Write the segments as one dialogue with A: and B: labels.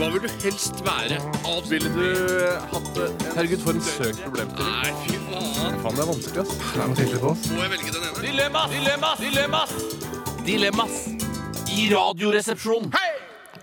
A: Hva vil du helst være? Avsnitt.
B: Ville du hatt det? Herregud, for en søk problem til.
A: Nei, fy faen.
B: Faen, det er vanskelig, ass.
A: Må jeg velge den ene?
C: Dilemmas! Dilemmas! Dilemmas! Dilemmas i Radioresepsjonen.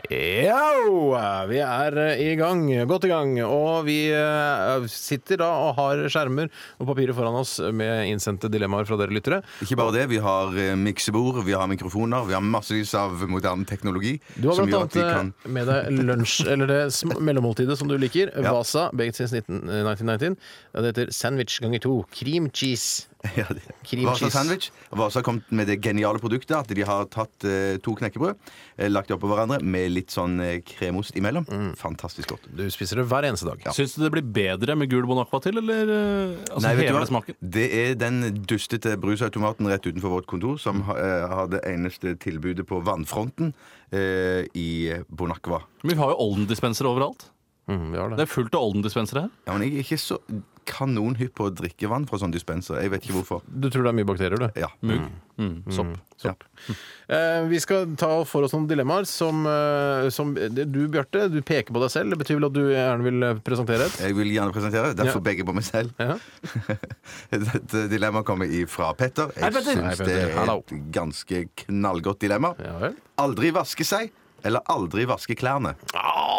B: Yo! Vi er eh, i gang, godt i gang. Og vi eh, sitter da og har skjermer og papirer foran oss med innsendte dilemmaer fra dere lyttere.
D: Ikke bare det, vi har eh, miksebord, vi har mikrofoner, vi har massevis av moderne teknologi.
B: Du har
D: som gjør
B: blant
D: at vi kan
B: annet eh, med deg lunsj, eller det sm- mellommåltidet som du liker.
D: Ja.
B: Vasa, baked since 19, eh, 1919. Ja, Det heter sandwich ganger to. Cream cheese.
D: ja, det-
B: Cream
D: Vasa
B: cheese.
D: Sandwich Vasa har kommet med det geniale produktet at de har tatt eh, to knekkebrød, eh, lagt det oppå hverandre med litt sånn eh, kremost imellom.
B: Mm.
D: Fantastisk godt.
B: Du spiser det hver eneste dag.
C: Syns du det blir bedre med gul Bon Aqua til, eller eh, altså,
D: Nei, vet du
C: hever
D: hva?
C: det smaken?
D: Det er den dustete brusautomaten rett utenfor vårt kontor som
B: Mm.
D: ha- eh, har det eneste tilbudet på vannfronten eh, i Bonacqua.
C: Men vi har jo Olden-dispensere overalt.
B: Mm, vi har
C: Det
B: det.
C: er fullt av Olden-dispensere her.
D: Ja, men jeg er ikke så kanonhypp på å drikke vann fra sånn dispenser. Jeg vet ikke hvorfor.
B: Du tror det er mye bakterier, du?
D: Ja.
C: Mugg. Mm, sopp.
D: Sopp.
B: Eh, vi skal ta for oss noen dilemmaer som, eh, som Du, Bjarte, du peker på deg selv. Det betyr vel at du gjerne vil eh, presentere et?
D: Jeg vil gjerne presentere, derfor
B: Ja.
D: begge på meg selv.
B: Ja.
D: Dette dilemmaet kommer ifra Petter.
C: Hei,
D: Jeg
C: Petter.
B: Hei,
D: syns
B: Petter.
D: det er
B: Hallo.
D: et ganske knallgodt dilemma.
B: Ja vel.
D: Aldri vaske seg, eller aldri vaske klærne.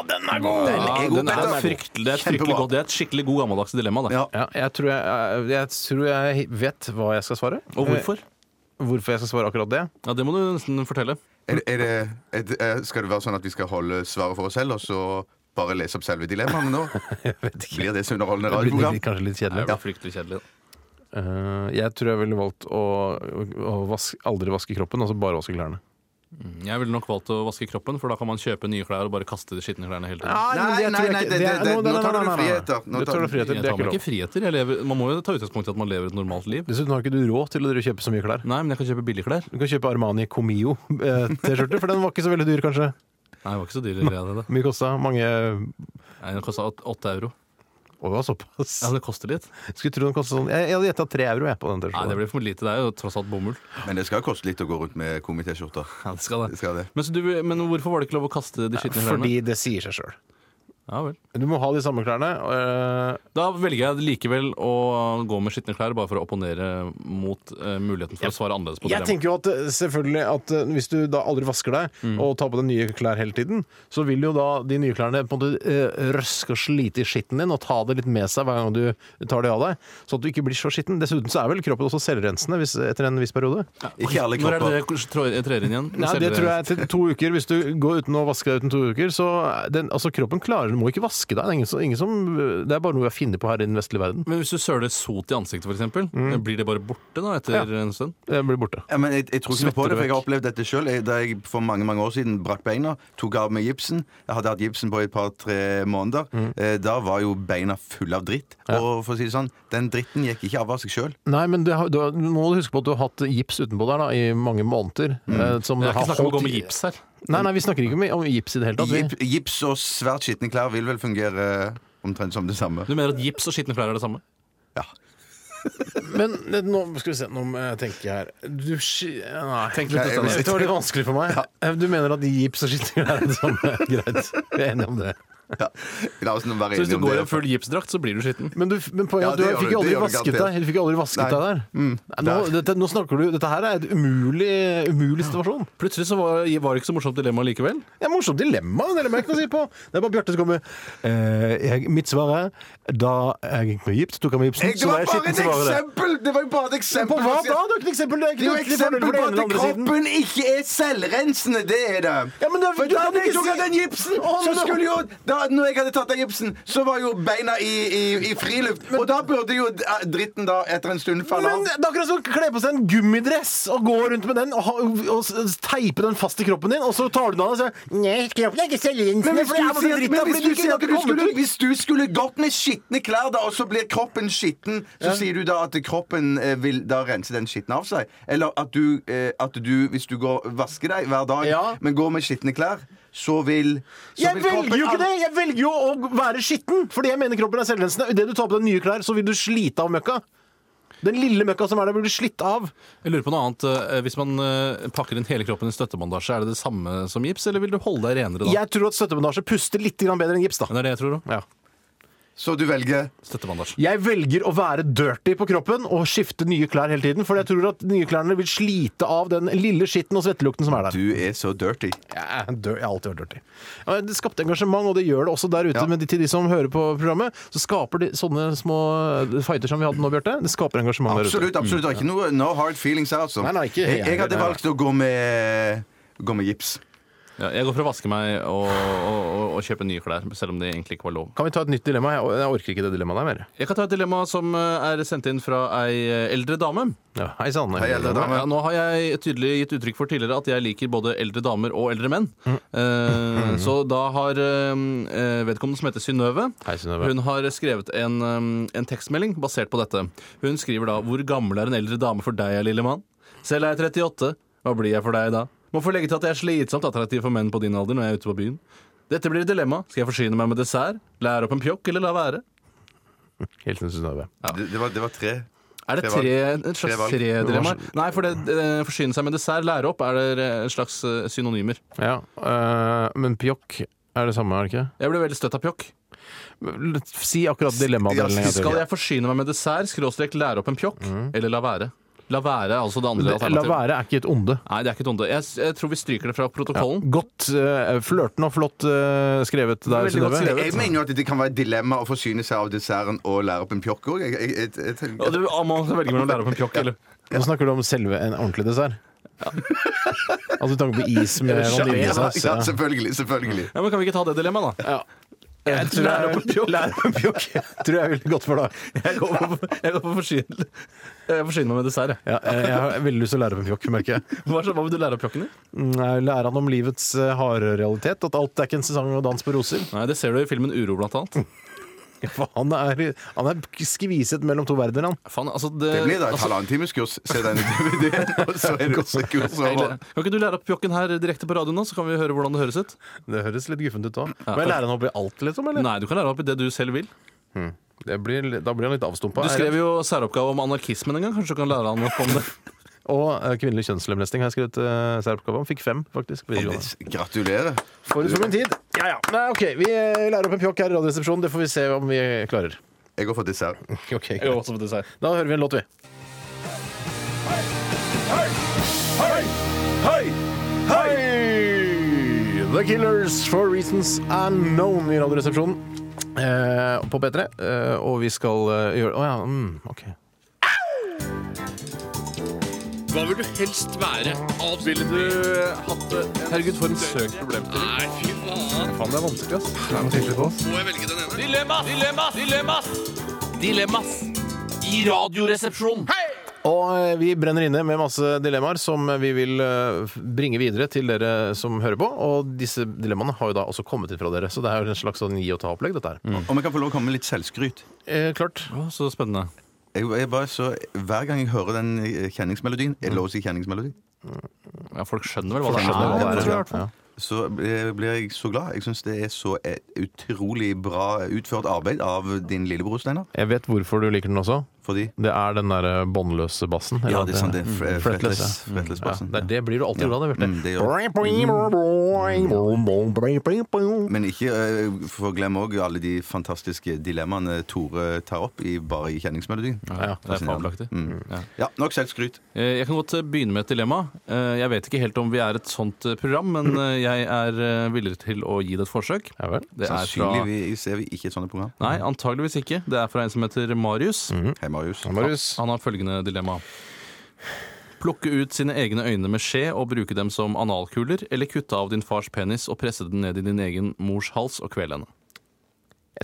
B: den er god!
D: Ah, Den er god,
C: den er
D: Petter.
C: fryktelig, det er et fryktelig
D: Kjempebra.
C: godt. Det er et skikkelig god gammeldags dilemma. Det.
D: Ja.
B: Ja, jeg tror jeg, jeg, jeg tror jeg vet hva jeg skal svare.
C: Og hvorfor?
B: Eh, Hvorfor jeg skal svare akkurat det?
C: Ja, Det må du nesten fortelle.
D: Er, er det, er, det- er, skal det være sånn at vi skal holde svaret for oss selv, og så bare lese opp selve dilemmaene nå? Blir det så underholdende
B: Det blir
D: radioprogram?
B: litt, kanskje litt
C: Det
B: kjedelig.
C: blir fryktelig kjedelig. da.
B: Eh, jeg tror jeg ville valgt å, å vaske, aldri vaske kroppen, altså bare vaske klærne.
C: Mm, Jeg ville nok valgt å vaske kroppen, for da kan man kjøpe nye klær og bare kaste de skitne klærne hele tiden.
D: Nei,
B: Ah, det tror jeg
D: nei,
B: ikke-
D: det-
B: det er-
D: det- det-
B: nå- nei,
D: nå
B: nei,
D: tar du
B: nei, nei, nei.
D: friheter. Nå
B: Du
D: tar-
B: tar du
C: Jeg
B: friheter. Det er
C: tar
B: ikke
C: meg
B: lov.
C: ikke friheter. Jeg lever, man må jo ta utgangspunkt i at man lever et normalt liv.
B: Dessuten har ikke du råd til å dere kjøpe så mye klær.
C: Nei, men jeg kan kjøpe billigklær.
B: Du kan kjøpe Armani Comio-T-skjorte, for den var ikke så veldig dyr, kanskje.
C: Nei, det var ikke så dyr greia, det. da.
B: Mye kosta. Mange
C: Nei, Den kosta åtte euro.
B: Å, det var såpass.
C: Ja, men det koster litt.
B: Skulle tro den kosta sånn Jeg, jeg hadde gjetta tre euro jeg, på den
C: Nei, det
B: T-skjorta.
C: blir for lite. Det er jo tross alt bomull.
D: Men det skal koste litt å gå rundt med komitéskjorter.
C: Ja, det skal
D: Det
C: det.
D: skal det.
C: Men, så du, men hvorfor var det ikke lov å kaste de skitne klærne?
B: Fordi det sier seg sjøl.
C: Ja, vel.
B: Du må ha de samme klærne. øh,
C: Da velger jeg likevel å gå med skitne klær, bare for å opponere mot eh, muligheten for å svare annerledes på
B: Jeg
C: dilemmaet.
B: tenker jo at eh, selvfølgelig at eh, hvis du da aldri vasker deg og tar på deg nye klær hele tiden, så vil jo da de nye klærne på en måte eh, røske og slite i skitten din og ta det litt med seg hver gang du tar det av deg, sånn at du ikke blir så skitten. Dessuten så er vel kroppen også selvrensende hvis, etter en viss periode.
D: Ikke alle
C: Når er det
D: kropper.
C: dere trår- trer inn igjen?
B: Nei, det tror jeg til to uker. Hvis du går uten å vaske deg uten to uker, så er den, altså kroppen klarer du må ikke vaske deg. Det er, ingen, som- ingen som, det er bare noe vi har funnet på her i den vestlige verden.
C: Men hvis du søler sot i ansiktet, f.eks., blir det bare borte da etter en stund?
B: Det blir borte.
D: Ja, men jeg, jeg tror ikke noe på det, for jeg har opplevd dette sjøl. Da jeg for mange mange år siden brakk beina, tok av meg gipsen Jeg hadde hatt gipsen på i et par-tre måneder. Eh, da var jo beina fulle av dritt. Og for å si det sånn, den dritten gikk ikke av av seg sjøl.
B: Nei, men det, har- du, har- nå må du huske på at du har hatt gips utenpå der da, i mange måneder. eh, Som
C: Det er
B: har
C: ikke snakk om å
B: holdt
C: gå med
B: i-
C: gips her.
B: Nei, nei, vi snakker ikke om, om gips i det hele tatt. Vi.
D: Gips og svært skitne klær vil vel fungere omtrent som det samme.
C: Du mener at gips og skitne klær er det samme?
D: Ja.
B: Men eh, nå skal vi se, nå må jeg tenke her Du sk- Nei.
C: Tenk litt,
B: Nei,
C: Øystein.
B: Det var litt vanskelig for meg. Eh, Du mener at gips og skitting er det samme? Greit. Vi er enige om det.
D: ja. La oss nå være
C: Så hvis
D: enige
C: du
D: om
C: går i
D: det.
C: en full gipsdrakt, så blir du skitten.
B: Men, du, men
D: Ja,
B: poenget er at
D: det
B: du
D: gjør
B: fikk
D: du,
B: jo
D: det
B: aldri
D: gjør du
B: vasket
D: garantert.
B: deg Du fikk aldri vasket
D: Nei. Mm.
B: deg der. Nei, nå,
D: Der.
B: dette, nå snakker du Dette her er et umulig, umulig situasjon.
C: Plutselig så var, var det ikke så morsomt dilemma likevel.
B: Det er et morsomt dilemma. Det er ikke noe å si på. Det er bare Bjarte som kommer eh, jeg, Mitt svar er da jeg gikk med gips, tok av meg gipsen,
D: Jeg, det var bare et
B: så var jeg det.
D: eksempel! Det var jo bare et
B: På
D: eksempel!
B: hva da? Det er jo ikke noe eksempel. Det er
D: Det er
B: ikke noe til
D: jo et
B: fordel for den
D: eksempel på
B: ene
D: at
B: eller andre siden.
D: kroppen ikke er selvrensende. Det er det.
B: Ja, men det-
D: For
B: du
D: da
B: kan ikke
D: jeg tok
B: si-
D: av den gipsen,
B: Å,
D: så
B: men-
D: skulle jo da, Når jeg hadde tatt av gipsen, så var jo beina i, i, i friluft. Og da burde jo d- eh, dritten da etter en stund falle
B: Men
D: av.
B: det er akkurat som å kle på seg en gummidress og gå rundt med den og, ha, og s- teipe den fast i kroppen din, og så tar du den av og sier Nei, kroppen er ikke selvrensende, for jeg har
D: sier
B: masse
D: at-
B: dritt
D: men
B: av
D: hvis
B: fordi
D: du
B: du
D: sier
B: ikke
D: at
B: har
D: du skulle,
B: kommet ut.
D: hvis du skulle gått med skitne klær, da, og så blir kroppen skitten, så sier du da at kroppen eh, vil da rense den skitten av seg? Eller at du, eh, at du hvis du går, vasker deg hver dag,
B: Ja.
D: men går med skitne klær, så vil så
B: Jeg
D: vil
B: velger
D: kroppen
B: jo ikke
D: aldri-
B: det! Jeg velger jo å være skitten, fordi jeg mener kroppen er selvrensende. Idet du tar på deg nye klær, så vil du slite av møkka. Den lille møkka som er der, blir du slitt av.
C: Jeg lurer på noe annet. eh, Hvis man eh, pakker inn hele kroppen i støttebandasje, er det det samme som gips, eller vil du holde deg renere da?
B: Jeg tror at støttebandasje puster litt grann bedre enn gips, da.
C: Men Det er det jeg tror òg.
B: Ja.
D: Så du velger
C: Støttebandasje.
B: Jeg velger å være dirty på kroppen og skifte nye klær hele tiden, for jeg tror at nye klærne vil slite av den lille skitten og svettelukten som er der.
D: Du er så dirty.
B: Jeg er dø- jeg har alltid vært dirty. Ja, men Det skapte engasjement, og det gjør det også der ute.
D: Ja.
B: Men til de som hører på programmet, så skaper de sånne små eh, fighter som vi hadde nå, Bjarte. Det skaper engasjement
D: Absolutt. absolutt. Det Mm. er ikke noe no hard feelings her, altså.
B: Nei, nei, ikke
D: jeg, jeg
B: heller,
D: hadde
B: nei,
D: valgt å gå med, gå med gips.
C: Ja, jeg går for å vaske meg og, og, og, og kjøpe nye klær, selv om det egentlig ikke var lov.
B: der ute. Kan vi ta et nytt dilemma? Jeg, jeg orker ikke det dilemmaet der mer.
C: Jeg kan ta et dilemma som eh, er sendt inn fra ei eh, eldre dame.
B: Ja, hei sann.
D: Hei, eldre dame.
C: Ja, nå har jeg tydelig gitt uttrykk for tidligere at jeg liker både eldre damer og eldre menn.
D: Mm.
C: Eh, så da har eh, vedkommende som heter Synnøve,
B: Hei, Synnøve.
C: hun har skrevet en, eh, en tekstmelding basert på dette. Hun skriver da 'Hvor gammel er en eldre dame for deg, lille mann?' 'Selv er jeg 38. Hva blir jeg for deg da?' 'Må få legge til at jeg er slitsomt attraktiv for menn på din alder når jeg er ute på byen.' 'Dette blir et dilemma. Skal jeg forsyne meg med dessert? Lære opp en pjokk, eller la være?'
B: Hilsen Synnøve.
D: Det, det, var, det var tre.
C: Er det
D: Tre valg.
C: tre, en slags
D: Tre valg.
C: tre dilemmaer? Nei, for det eh, forsyne seg med dessert, lære opp, er det eh, en slags eh, synonymer.
B: Ja, øh, men pjokk er det samme, er det ikke?
C: Jeg ble veldig støtt av pjokk.
B: L- Si akkurat dilemmadelen.
D: Ja,
C: Skal jeg forsyne meg med dessert, skråstrek lære opp en pjokk,
D: Mm.
C: eller la være? La være er altså det andre
B: La
C: alternativet.
B: være er ikke et onde.
C: Nei, det er ikke et onde. Jeg, s- jeg tror vi stryker det fra protokollen.
B: Godt øh, flørtende og flott øh, skrevet der,
C: Veldig godt
B: Synnøve.
C: skrevet.
D: Jeg mener jo at det kan være et dilemma å forsyne seg av desserten og lære opp en pjokk òg. Jeg, jeg, jeg, jeg,
C: Og
D: tenker-
C: du ah, må velge mellom å lære opp en pjokk eller
B: Nå snakker du om selve en ordentlig dessert. altså du tanke på is med
D: ja,
B: vaniljesaus.
D: ja, selvfølgelig. selvfølgelig.
C: ja, men Kan vi ikke ta det dilemmaet, da?
B: Ja. Jeg tror
C: Lære opp en
B: jeg,
C: pjokk.
B: lære opp en pjokk. tror jeg er veldig godt for deg.
C: Jeg går for, jeg går for forsyne, jeg forsyner meg med dessert. jeg.
B: Ja, jeg jeg har veldig lyst til å lære opp en pjokk, merker jeg.
C: Hva, så- hva vil du lære opp pjokken i?
B: Nei, Lære han om livets eh, harde realitet. At alt er ikke en sesong og dans på roser.
C: Nei, Det ser du i filmen Uro, blant annet.
B: For han er, han er skviset mellom to verdener, han.
C: Faen, altså,
D: Det blir da et halvannentimeskurs. Se den DVD-en, og så er det også kurs over.
C: Kan ikke du lære opp pjokken her direkte på radioen, nå, så kan vi høre hvordan det høres ut?
B: Det høres litt guffent ut òg. Må jeg lære han opp i alt, liksom? eller?
C: Nei, du kan lære opp i det du selv vil.
B: Det blir, litt- da blir han litt avstumpa.
C: Du skrev jo særoppgave om anarkismen en gang. Kanskje du kan lære han opp om det?
B: Og eh, kvinnelig kjønnslemlesting har jeg skrevet uh, særoppgave om. Fikk fem, faktisk. på videregående.
D: Gratulerer.
B: Forut for min tid. Ja, ja. Nei, ok, Vi eh, lærer opp en pjokk her i Radioresepsjonen. Det får vi se om vi klarer.
D: Jeg går for dessert.
B: Ok, greit. Da hører vi en låt, vi. Hei! The Killers for Reasons Unknown i Radioresepsjonen eh, på P3. Eh, og vi skal eh, gjøre Å ja. Mm, ok.
A: Hva vil du helst være? Alt vil du
C: eh, Herregud, for en søk problem.
A: Nei, fy faen.
C: Faen, det er vanskelig, ass.
A: Må jeg velge den ene?
E: Dilemmas! Dilemmas! Dilemmas! Dilemmas! I Radioresepsjonen.
B: Og eh, vi brenner inne med masse dilemmaer som vi vil eh, bringe videre til dere som hører på. Og disse dilemmaene har jo da også kommet inn fra dere, så det er jo en slags sånn gi og ta-opplegg, dette her.
D: Om jeg kan få lov å komme med litt selvskryt?
B: Eh, klart.
C: Å, så spennende.
D: Jeg, jeg bare så, hver gang jeg hører den eh, kjenningsmelodien Er det lov å si kjenningsmelodi?
C: Ja, folk skjønner vel hva det
D: Folk skjønner hva det er.
C: er. Ja,
D: Så eh, blir jeg så glad. Jeg syns det er så eh, utrolig bra utført arbeid av din lillebror, Steinar.
B: Jeg vet hvorfor du liker den også.
D: Fordi
B: Det er den derre båndløse bassen.
D: Ja,
B: eller
D: det er sant. Det er fre-
B: Mm,
D: fretless.
B: fretless.
D: fretless
B: Ja,
D: bassen.
B: det, det blir du alltid
D: Ja.
B: glad av,
D: Mm, det
B: Bjarte.
D: Men ikke eh, for glem òg alle de fantastiske dilemmaene Tore tar opp i bare i kjenningsmelodien.
C: ja, det er fabelaktig.
D: Mm.
C: Ja.
D: Ja, nok selvskryt.
C: Eh, Jeg kan godt eh, begynne med et dilemma. Eh, Jeg vet ikke helt om vi er et sånt eh, program, men eh, jeg er eh, villig til å gi det et forsøk.
B: Ja vel.
C: Det er fra
D: Sannsynligvis er vi ikke et sånt program.
C: Nei, antageligvis ikke. Det er fra en som heter Marius.
D: Hei, Marius.
B: Marius.
C: Han har følgende dilemma. Plukke ut sine egne øyne med skje og bruke dem som analkuler, eller kutte av din fars penis og presse den ned i din egen mors hals og kvele henne.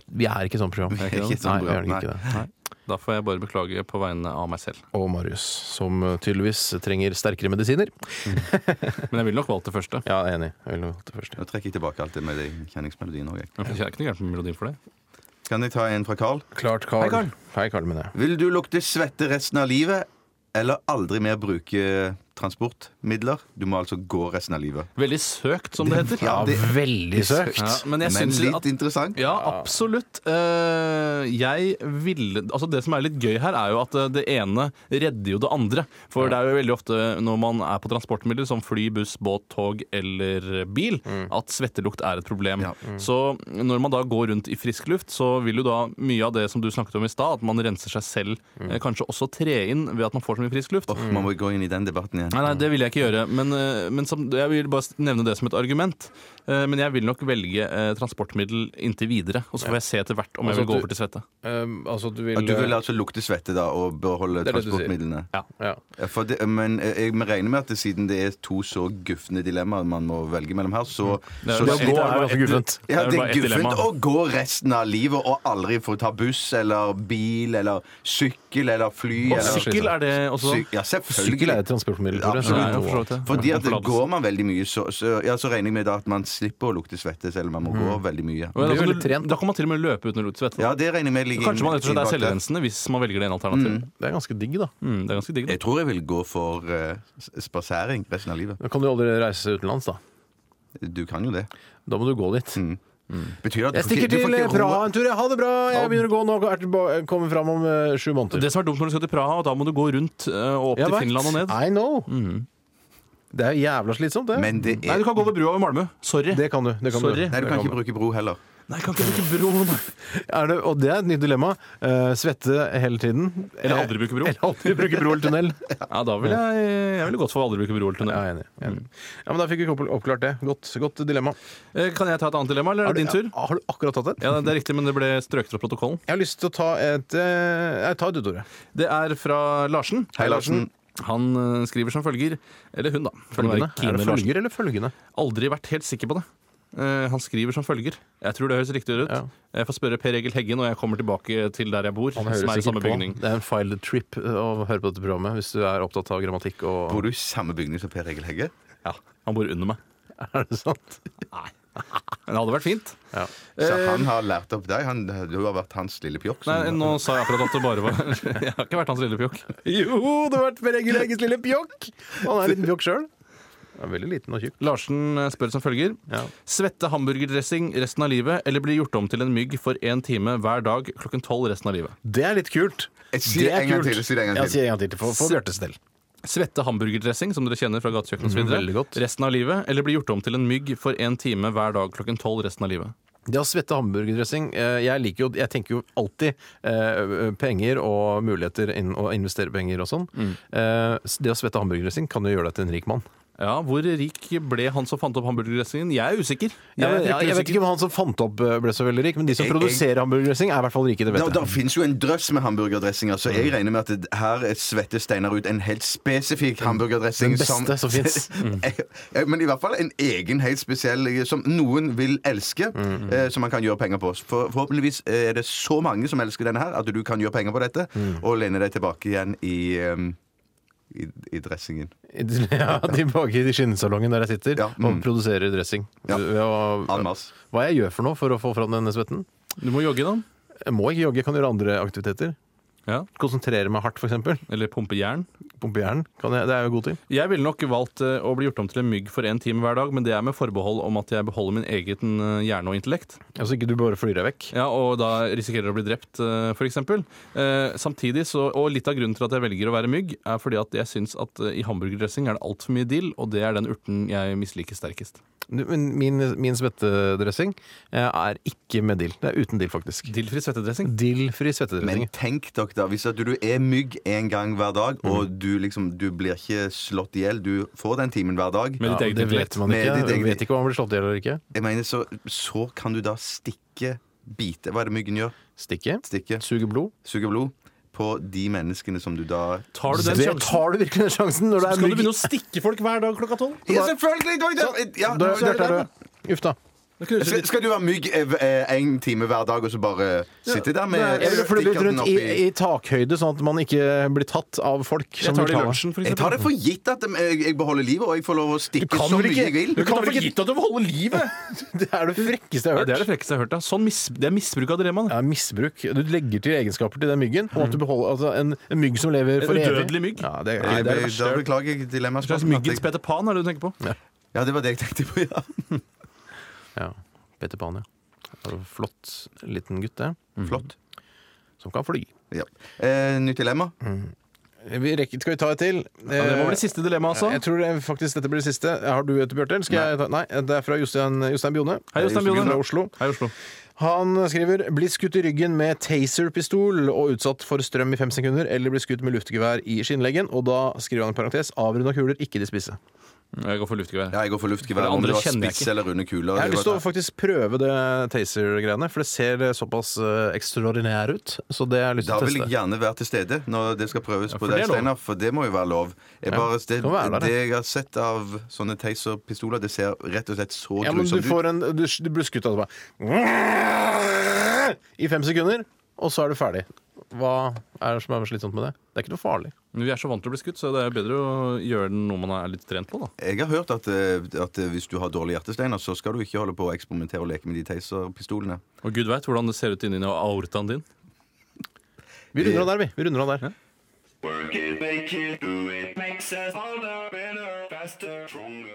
B: Vi er ikke sånn program.
D: er ikke et sånt
B: Nei, vi er
D: program,
B: ikke det.
C: Da får jeg bare beklage på vegne av meg selv.
B: Og Marius, som eh, tydeligvis trenger sterkere medisiner.
C: Men jeg ville nok valgt det første.
B: Ja, jeg er enig. Jeg vil valgt det første.
D: Nå trekker jeg tilbake alt det med de kjenningsmelodien òg.
C: Men Det er ikke noe gærent med melodien for det.
D: Kan jeg ta en fra Carl?
B: Klart, Carl.
C: Hei, Carl.
B: Hei, Carl, mener jeg.
D: Vil du lukte svette resten av livet, eller aldri mer bruke transportmidler. Du må altså gå resten av livet.
C: Veldig søkt, som det heter.
D: Ja, det
B: Veldig søkt.
C: Ja, men jeg
D: men
C: syns
D: litt
C: at
D: interessant.
C: Ja, absolutt. Eh, jeg ville Altså, det som er litt gøy her, er jo at eh, det ene redder jo det andre. For det er jo veldig ofte når man er på transportmidler som fly, buss, båt, tog eller bil, at svettelukt er et problem.
D: Ja.
C: Så når man da går rundt i frisk luft, så vil jo da mye av det som du snakket om i stad, at man renser seg selv, eh, kanskje også tre inn ved at man får så mye frisk luft.
D: Man må gå inn i den debatten igjen.
C: Mm. Nei, nei, det vil jeg ikke gjøre. Men, eh, men som, jeg vil bare nevne det som et argument. Eh, Men jeg vil nok velge eh, transportmiddel inntil videre. Og så får jeg se etter hvert om jeg
B: Altså
C: vil gå
B: at
C: over til svette.
B: Um, altså, du vil,
D: At du vil
C: eh,
D: altså lukte svette da og beholde
B: Det er det du sier.
D: transportmidlene?
C: Ja.
B: ja.
D: Ja, For det, men jeg jeg regner med at det, siden det er to så gufne dilemmaer man må velge mellom her, så,
C: Mm. Det
D: så
C: bare
B: det å gå
C: ett-
B: er ganske
C: ett-
B: guffent.
C: det er
D: ja, det
C: bare
D: er
C: ett dilemma.
D: guffent å gå resten av livet og aldri få ta buss eller bil eller sykkel eller fly.
C: Og
D: eller,
C: sykkel er det også.
D: Syk- ja, selvfølgelig.
B: Sykkel er et transportmiddel. Tore, så
D: Absolutt.
B: det er
C: Nei,
B: noe-
C: for så vidt, ja.
D: Fordi at det
C: Forlatelse.
D: går man veldig mye, så, så, ja, så regner jeg med da at man slipper å lukte svette selv om man må gå veldig mye.
C: Mm. Og Da
B: blir
C: kan,
B: veldig
C: du, da kan man til og med løpe uten å lukte svette.
D: Ja, det regner jeg med ligger
C: Kanskje man rett og slett er
D: innbakt der.
C: selvrensende hvis man velger det ene alternativet.
B: det er ganske digg, da.
C: Mm, det er ganske digg. da.
D: Jeg tror jeg vil gå for eh, s- spasering resten av livet.
B: Da kan du aldri reise utenlands, da.
D: Du kan jo det.
B: Da må du gå dit.
C: Mm.
D: Betyr det
B: Jeg
D: at du får
B: stikker
D: ikke- du får
B: til
D: ikke
C: eh,
D: ro-
B: Praha en tur. jeg. Ha det bra! Jeg begynner å gå nå. Er tilba- Kommer fram om eh, sju måneder.
C: Det som er dumt når du skal til Praha, da må du gå rundt eh, og opp
B: Jeg
C: til
B: vet.
C: Finland og ned. Mm.
B: I know. Det er jo jævla slitsomt, det.
D: Men det
C: Nei,
D: er
C: du kan gå over brua over Malmö. Sorry.
B: det kan du. Det kan
C: Sorry.
B: du.
D: Nei, du kan ikke bruke bro heller.
C: Nei, kan ikke bruke broen.
D: Eh,
B: Er det, og det er et nytt dilemma. Eh, svette hele tiden. Eh,
C: Eller aldri bruke bro.
B: Eller aldri bruke bro eller tunnel.
C: Ja, da vil jeg, jeg ville gått for aldri bruke bro eller
B: Ja,
C: tunnel.
B: jeg er enig. jeg er enig. Ja, men Da fikk vi opp- oppklart det. Godt, godt dilemma.
C: Eh, Kan jeg ta et annet dilemma, eller er det din tur?
B: Ja, har du akkurat tatt et?
C: Ja, det er riktig, men det ble strøket fra protokollen.
B: Jeg har lyst til å ta et eh, Jeg tar et utord, jeg.
C: Det er fra Larsen.
D: Hei, Larsen.
C: Han eh, skriver som følger, eller hun, da. for det må være
B: Følgende. Er
C: Kine
B: det
C: Larsen.
B: følger eller følgende?
C: Aldri vært helt sikker på det. Eh, han skriver som følger. Jeg tror det høres riktig ut.
B: Ja.
C: Jeg får spørre Per Egil Hegge når jeg kommer tilbake til der jeg bor. Som er i samme bygning.
B: Det er en file trip eh, å høre på dette programmet hvis du er opptatt av grammatikk og
D: Bor du i samme bygning som Per Egil Hegge?
C: Ja, han bor under meg.
B: Er det sant?
C: Men det hadde vært fint.
D: Så han har lært opp deg? Han, du har vært hans lille pjokk?
C: Eh. Nei,
D: som-
C: nå sa jeg akkurat at det bare var Jeg har ikke vært hans lille pjokk.
B: Jo, det har vært Per Egil Egges lille pjokk! Han er en liten pjokk sjøl. Veldig liten og tjukk.
C: Larsen eh, spør som følger.
B: Ja.
C: Svette hamburgerdressing resten av livet, eller bli gjort om til en mygg for én time hver dag klokken tolv resten av livet?
B: Det er litt kult.
D: Jeg sier
B: Det er
D: en gang
B: kult.
D: til, jeg sier en gang
B: Ja,
D: til.
B: sier en gang til for, for Bjørtes del.
C: Svette hamburgerdressing, som dere kjenner fra gatekjøkken osv.
B: Mhm, veldig godt.
C: resten av livet, eller bli gjort om til en mygg for én time hver dag klokken tolv resten av livet?
B: Det å svette hamburgerdressing eh, Jeg liker jo, jeg tenker jo alltid eh, penger og muligheter inn, å investere penger og sånn. Eh, s- det å svette hamburgerdressing kan jo gjøre deg til en rik mann.
C: Ja, Hvor rik ble han som fant opp hamburgerdressingen? Jeg er usikker.
B: Jeg,
C: er fryktelig
B: vet ikke om han som fant opp eh, ble så veldig rik, men de som
D: Jeg- jeg-
B: produserer hamburgerdressing, er i hvert fall rike. Det
D: Nå,
B: vet
D: der
B: jeg.
D: finnes jo en drøss med hamburgerdressinger, så
C: Mm.
D: jeg regner med at det, her svetter Steinar ut en helt spesifikk hamburgerdressing.
B: Den beste som finnes.
D: Eh, Men i hvert fall en egen, helt spesiell, eh, som noen vil elske, eh, som man kan gjøre penger på. For, forhåpentligvis eh, er det så mange som elsker denne her, at du kan gjøre penger på dette, og lene deg tilbake igjen i, em, i, i dressingen.
B: Ja, de bak i skinnsalongen der jeg sitter
D: Ja,
B: og produserer dressing.
D: Ja.
B: Ved å-
D: En masse.
B: hva jeg gjør for noe for å få fram denne svetten?
C: sikker. Du må jogge, da.
B: Jeg må ikke jogge, jeg kan gjøre andre aktiviteter.
C: Ja,
B: Konsentrere meg hardt, f.eks.
C: Eller pumpe jern.
B: Pumpe hjernen. kan jeg- Det er jeg jo god til.
C: Jeg ville nok valgt eh, å bli gjort om til en mygg for én time hver dag, men det er med forbehold om at jeg beholder min egen eh, hjerne og intellekt.
B: Altså ikke du bare flyr deg vekk.
C: Ja, og da risikerer å bli drept, eh, for eksempel. Eh, Samtidig så, og litt av grunnen til at jeg velger å være mygg, er fordi at jeg syns at eh, i hamburgerdressing er det altfor mye dill, og det er den urten jeg misliker sterkest.
B: Du, Men min, min svettedressing eh, er ikke med dill. Det er uten dill, faktisk.
C: Dillfri svettedressing?
B: Dillfri
D: Men
B: svettedressing.
D: tenk dere da, hvis at du er mygg en gang hver dag, og du liksom, du blir ikke slått ihjel, du får den timen hver dag.
C: Med ditt eget
B: det vet
C: intellekt.
B: man
D: Med
B: ikke.
D: ditt eget-
B: Jeg vet ikke om han blir slått i hjel eller ikke.
D: Jeg mener, så, så kan du da stikke bite Hva er det myggen gjør?
B: Stikke.
D: Stikke,
B: Suge blod.
D: suge blod på de menneskene som du da
C: Tar du den
B: Det
C: sjansen?
B: tar du virkelig den sjansen når det er
C: Skal du begynne å stikke folk hver dag klokka tolv?
D: Ja, selvfølgelig! Går jeg der? Ja,
B: Da-
D: nå er
B: der
D: det
B: tar
D: der.
B: du- Uff da.
D: Skal, skal du være mygg én eh, time hver dag og så bare sitte der med
B: Jeg ville flyttet
D: stikkerten
B: rundt i,
D: oppi-
B: i takhøyde, sånn at man ikke blir tatt av folk.
C: Jeg
B: Som
C: tar
B: vil
C: det i
B: ta deg.
C: lunsjen, for
D: Jeg
C: eksempel.
D: tar det for gitt at jeg, jeg beholder livet, og jeg får lov å stikke
B: kan
D: så
B: vel
D: mye
B: ikke-
D: jeg vil.
B: du
E: Du
B: kan
E: tar for gitt at du holder livet!
B: Det er det frekkeste jeg
C: Ja,
B: har hørt.
C: det er det frekkeste jeg har hørt. Da. Sånn mis det er misbruk av dilemmaen.
B: Ja, misbruk. Du legger til egenskaper til den myggen. Og at du beholder altså, en, en mygg som lever
C: En
B: for evig.
C: Mhm. udødelig mygg.
B: Ja, det,
D: Nei,
B: det er det
D: da
B: verste.
D: beklager jeg dilemmaet.
C: Hva slags myggens Peter Pan er det du tenker på?
D: Ja, det var det jeg tenkte på, ja.
B: Ja. Peter Pan, ja. Det var en Flott liten gutt, det.
D: Flott.
B: Som kan fly.
D: Ja. Eh, nytt dilemma.
B: Mhm. Eh, Vi rekker, skal vi ta et til?
C: Ja, det må
B: Eh,
C: bli siste dilemma, altså.
B: Jeg tror det, faktisk dette blir det siste. Har du et, Bjarte? eller Skal jeg ta? Nei, det er fra Jostein, Jostein Bjone.
C: Hei, Jostein Bjone.
B: Fra Oslo.
C: Hei, Oslo.
B: Han skriver bli skutt i ryggen med taserpistol og utsatt for strøm i fem sekunder, eller bli skutt med luftgevær i skinnleggen. Og da skriver han i parentes avrunda kuler, ikke de spisse.
C: Jeg går for luftgevær.
D: Ja, jeg går for luftgevær.
C: Det
D: Om
C: andre
D: det var
C: kjenner jeg
D: spiss eller runde kuler.
B: Jeg har
D: det
B: lyst til
D: var-
B: å faktisk prøve det Taser-greiene, for det ser såpass eh, ekstraordinær ut. Så det har jeg lyst
D: Da
B: til å
D: vil jeg
B: teste.
D: gjerne være til stede når det skal prøves på
C: for det
D: deg,
C: er lov.
D: Steinar. For det må jo være lov. Jeg bare, det,
B: kan være der,
D: det jeg har sett av sånne Taser-pistoler, det ser rett og slett så
B: Ja, men du
D: grusomt ut.
B: får en Du, du blir skutt av det bare I fem sekunder, og så er du ferdig. Hva er det som er slitsomt med det? Det er ikke noe farlig.
C: Men Vi er så vant til å bli skutt, så det er bedre å gjøre den noe man er litt trent på, da.
D: Jeg har hørt at, eh, at eh, hvis du har dårlige hjertesteiner, så skal du ikke holde på å eksperimentere og leke med de Taser-pistolene.
C: Og gud veit hvordan det ser ut inni aortaen din.
B: Vi runder av der, vi. vi runder av der.
F: Work it, make it, do it, makes us harder, better, faster, stronger.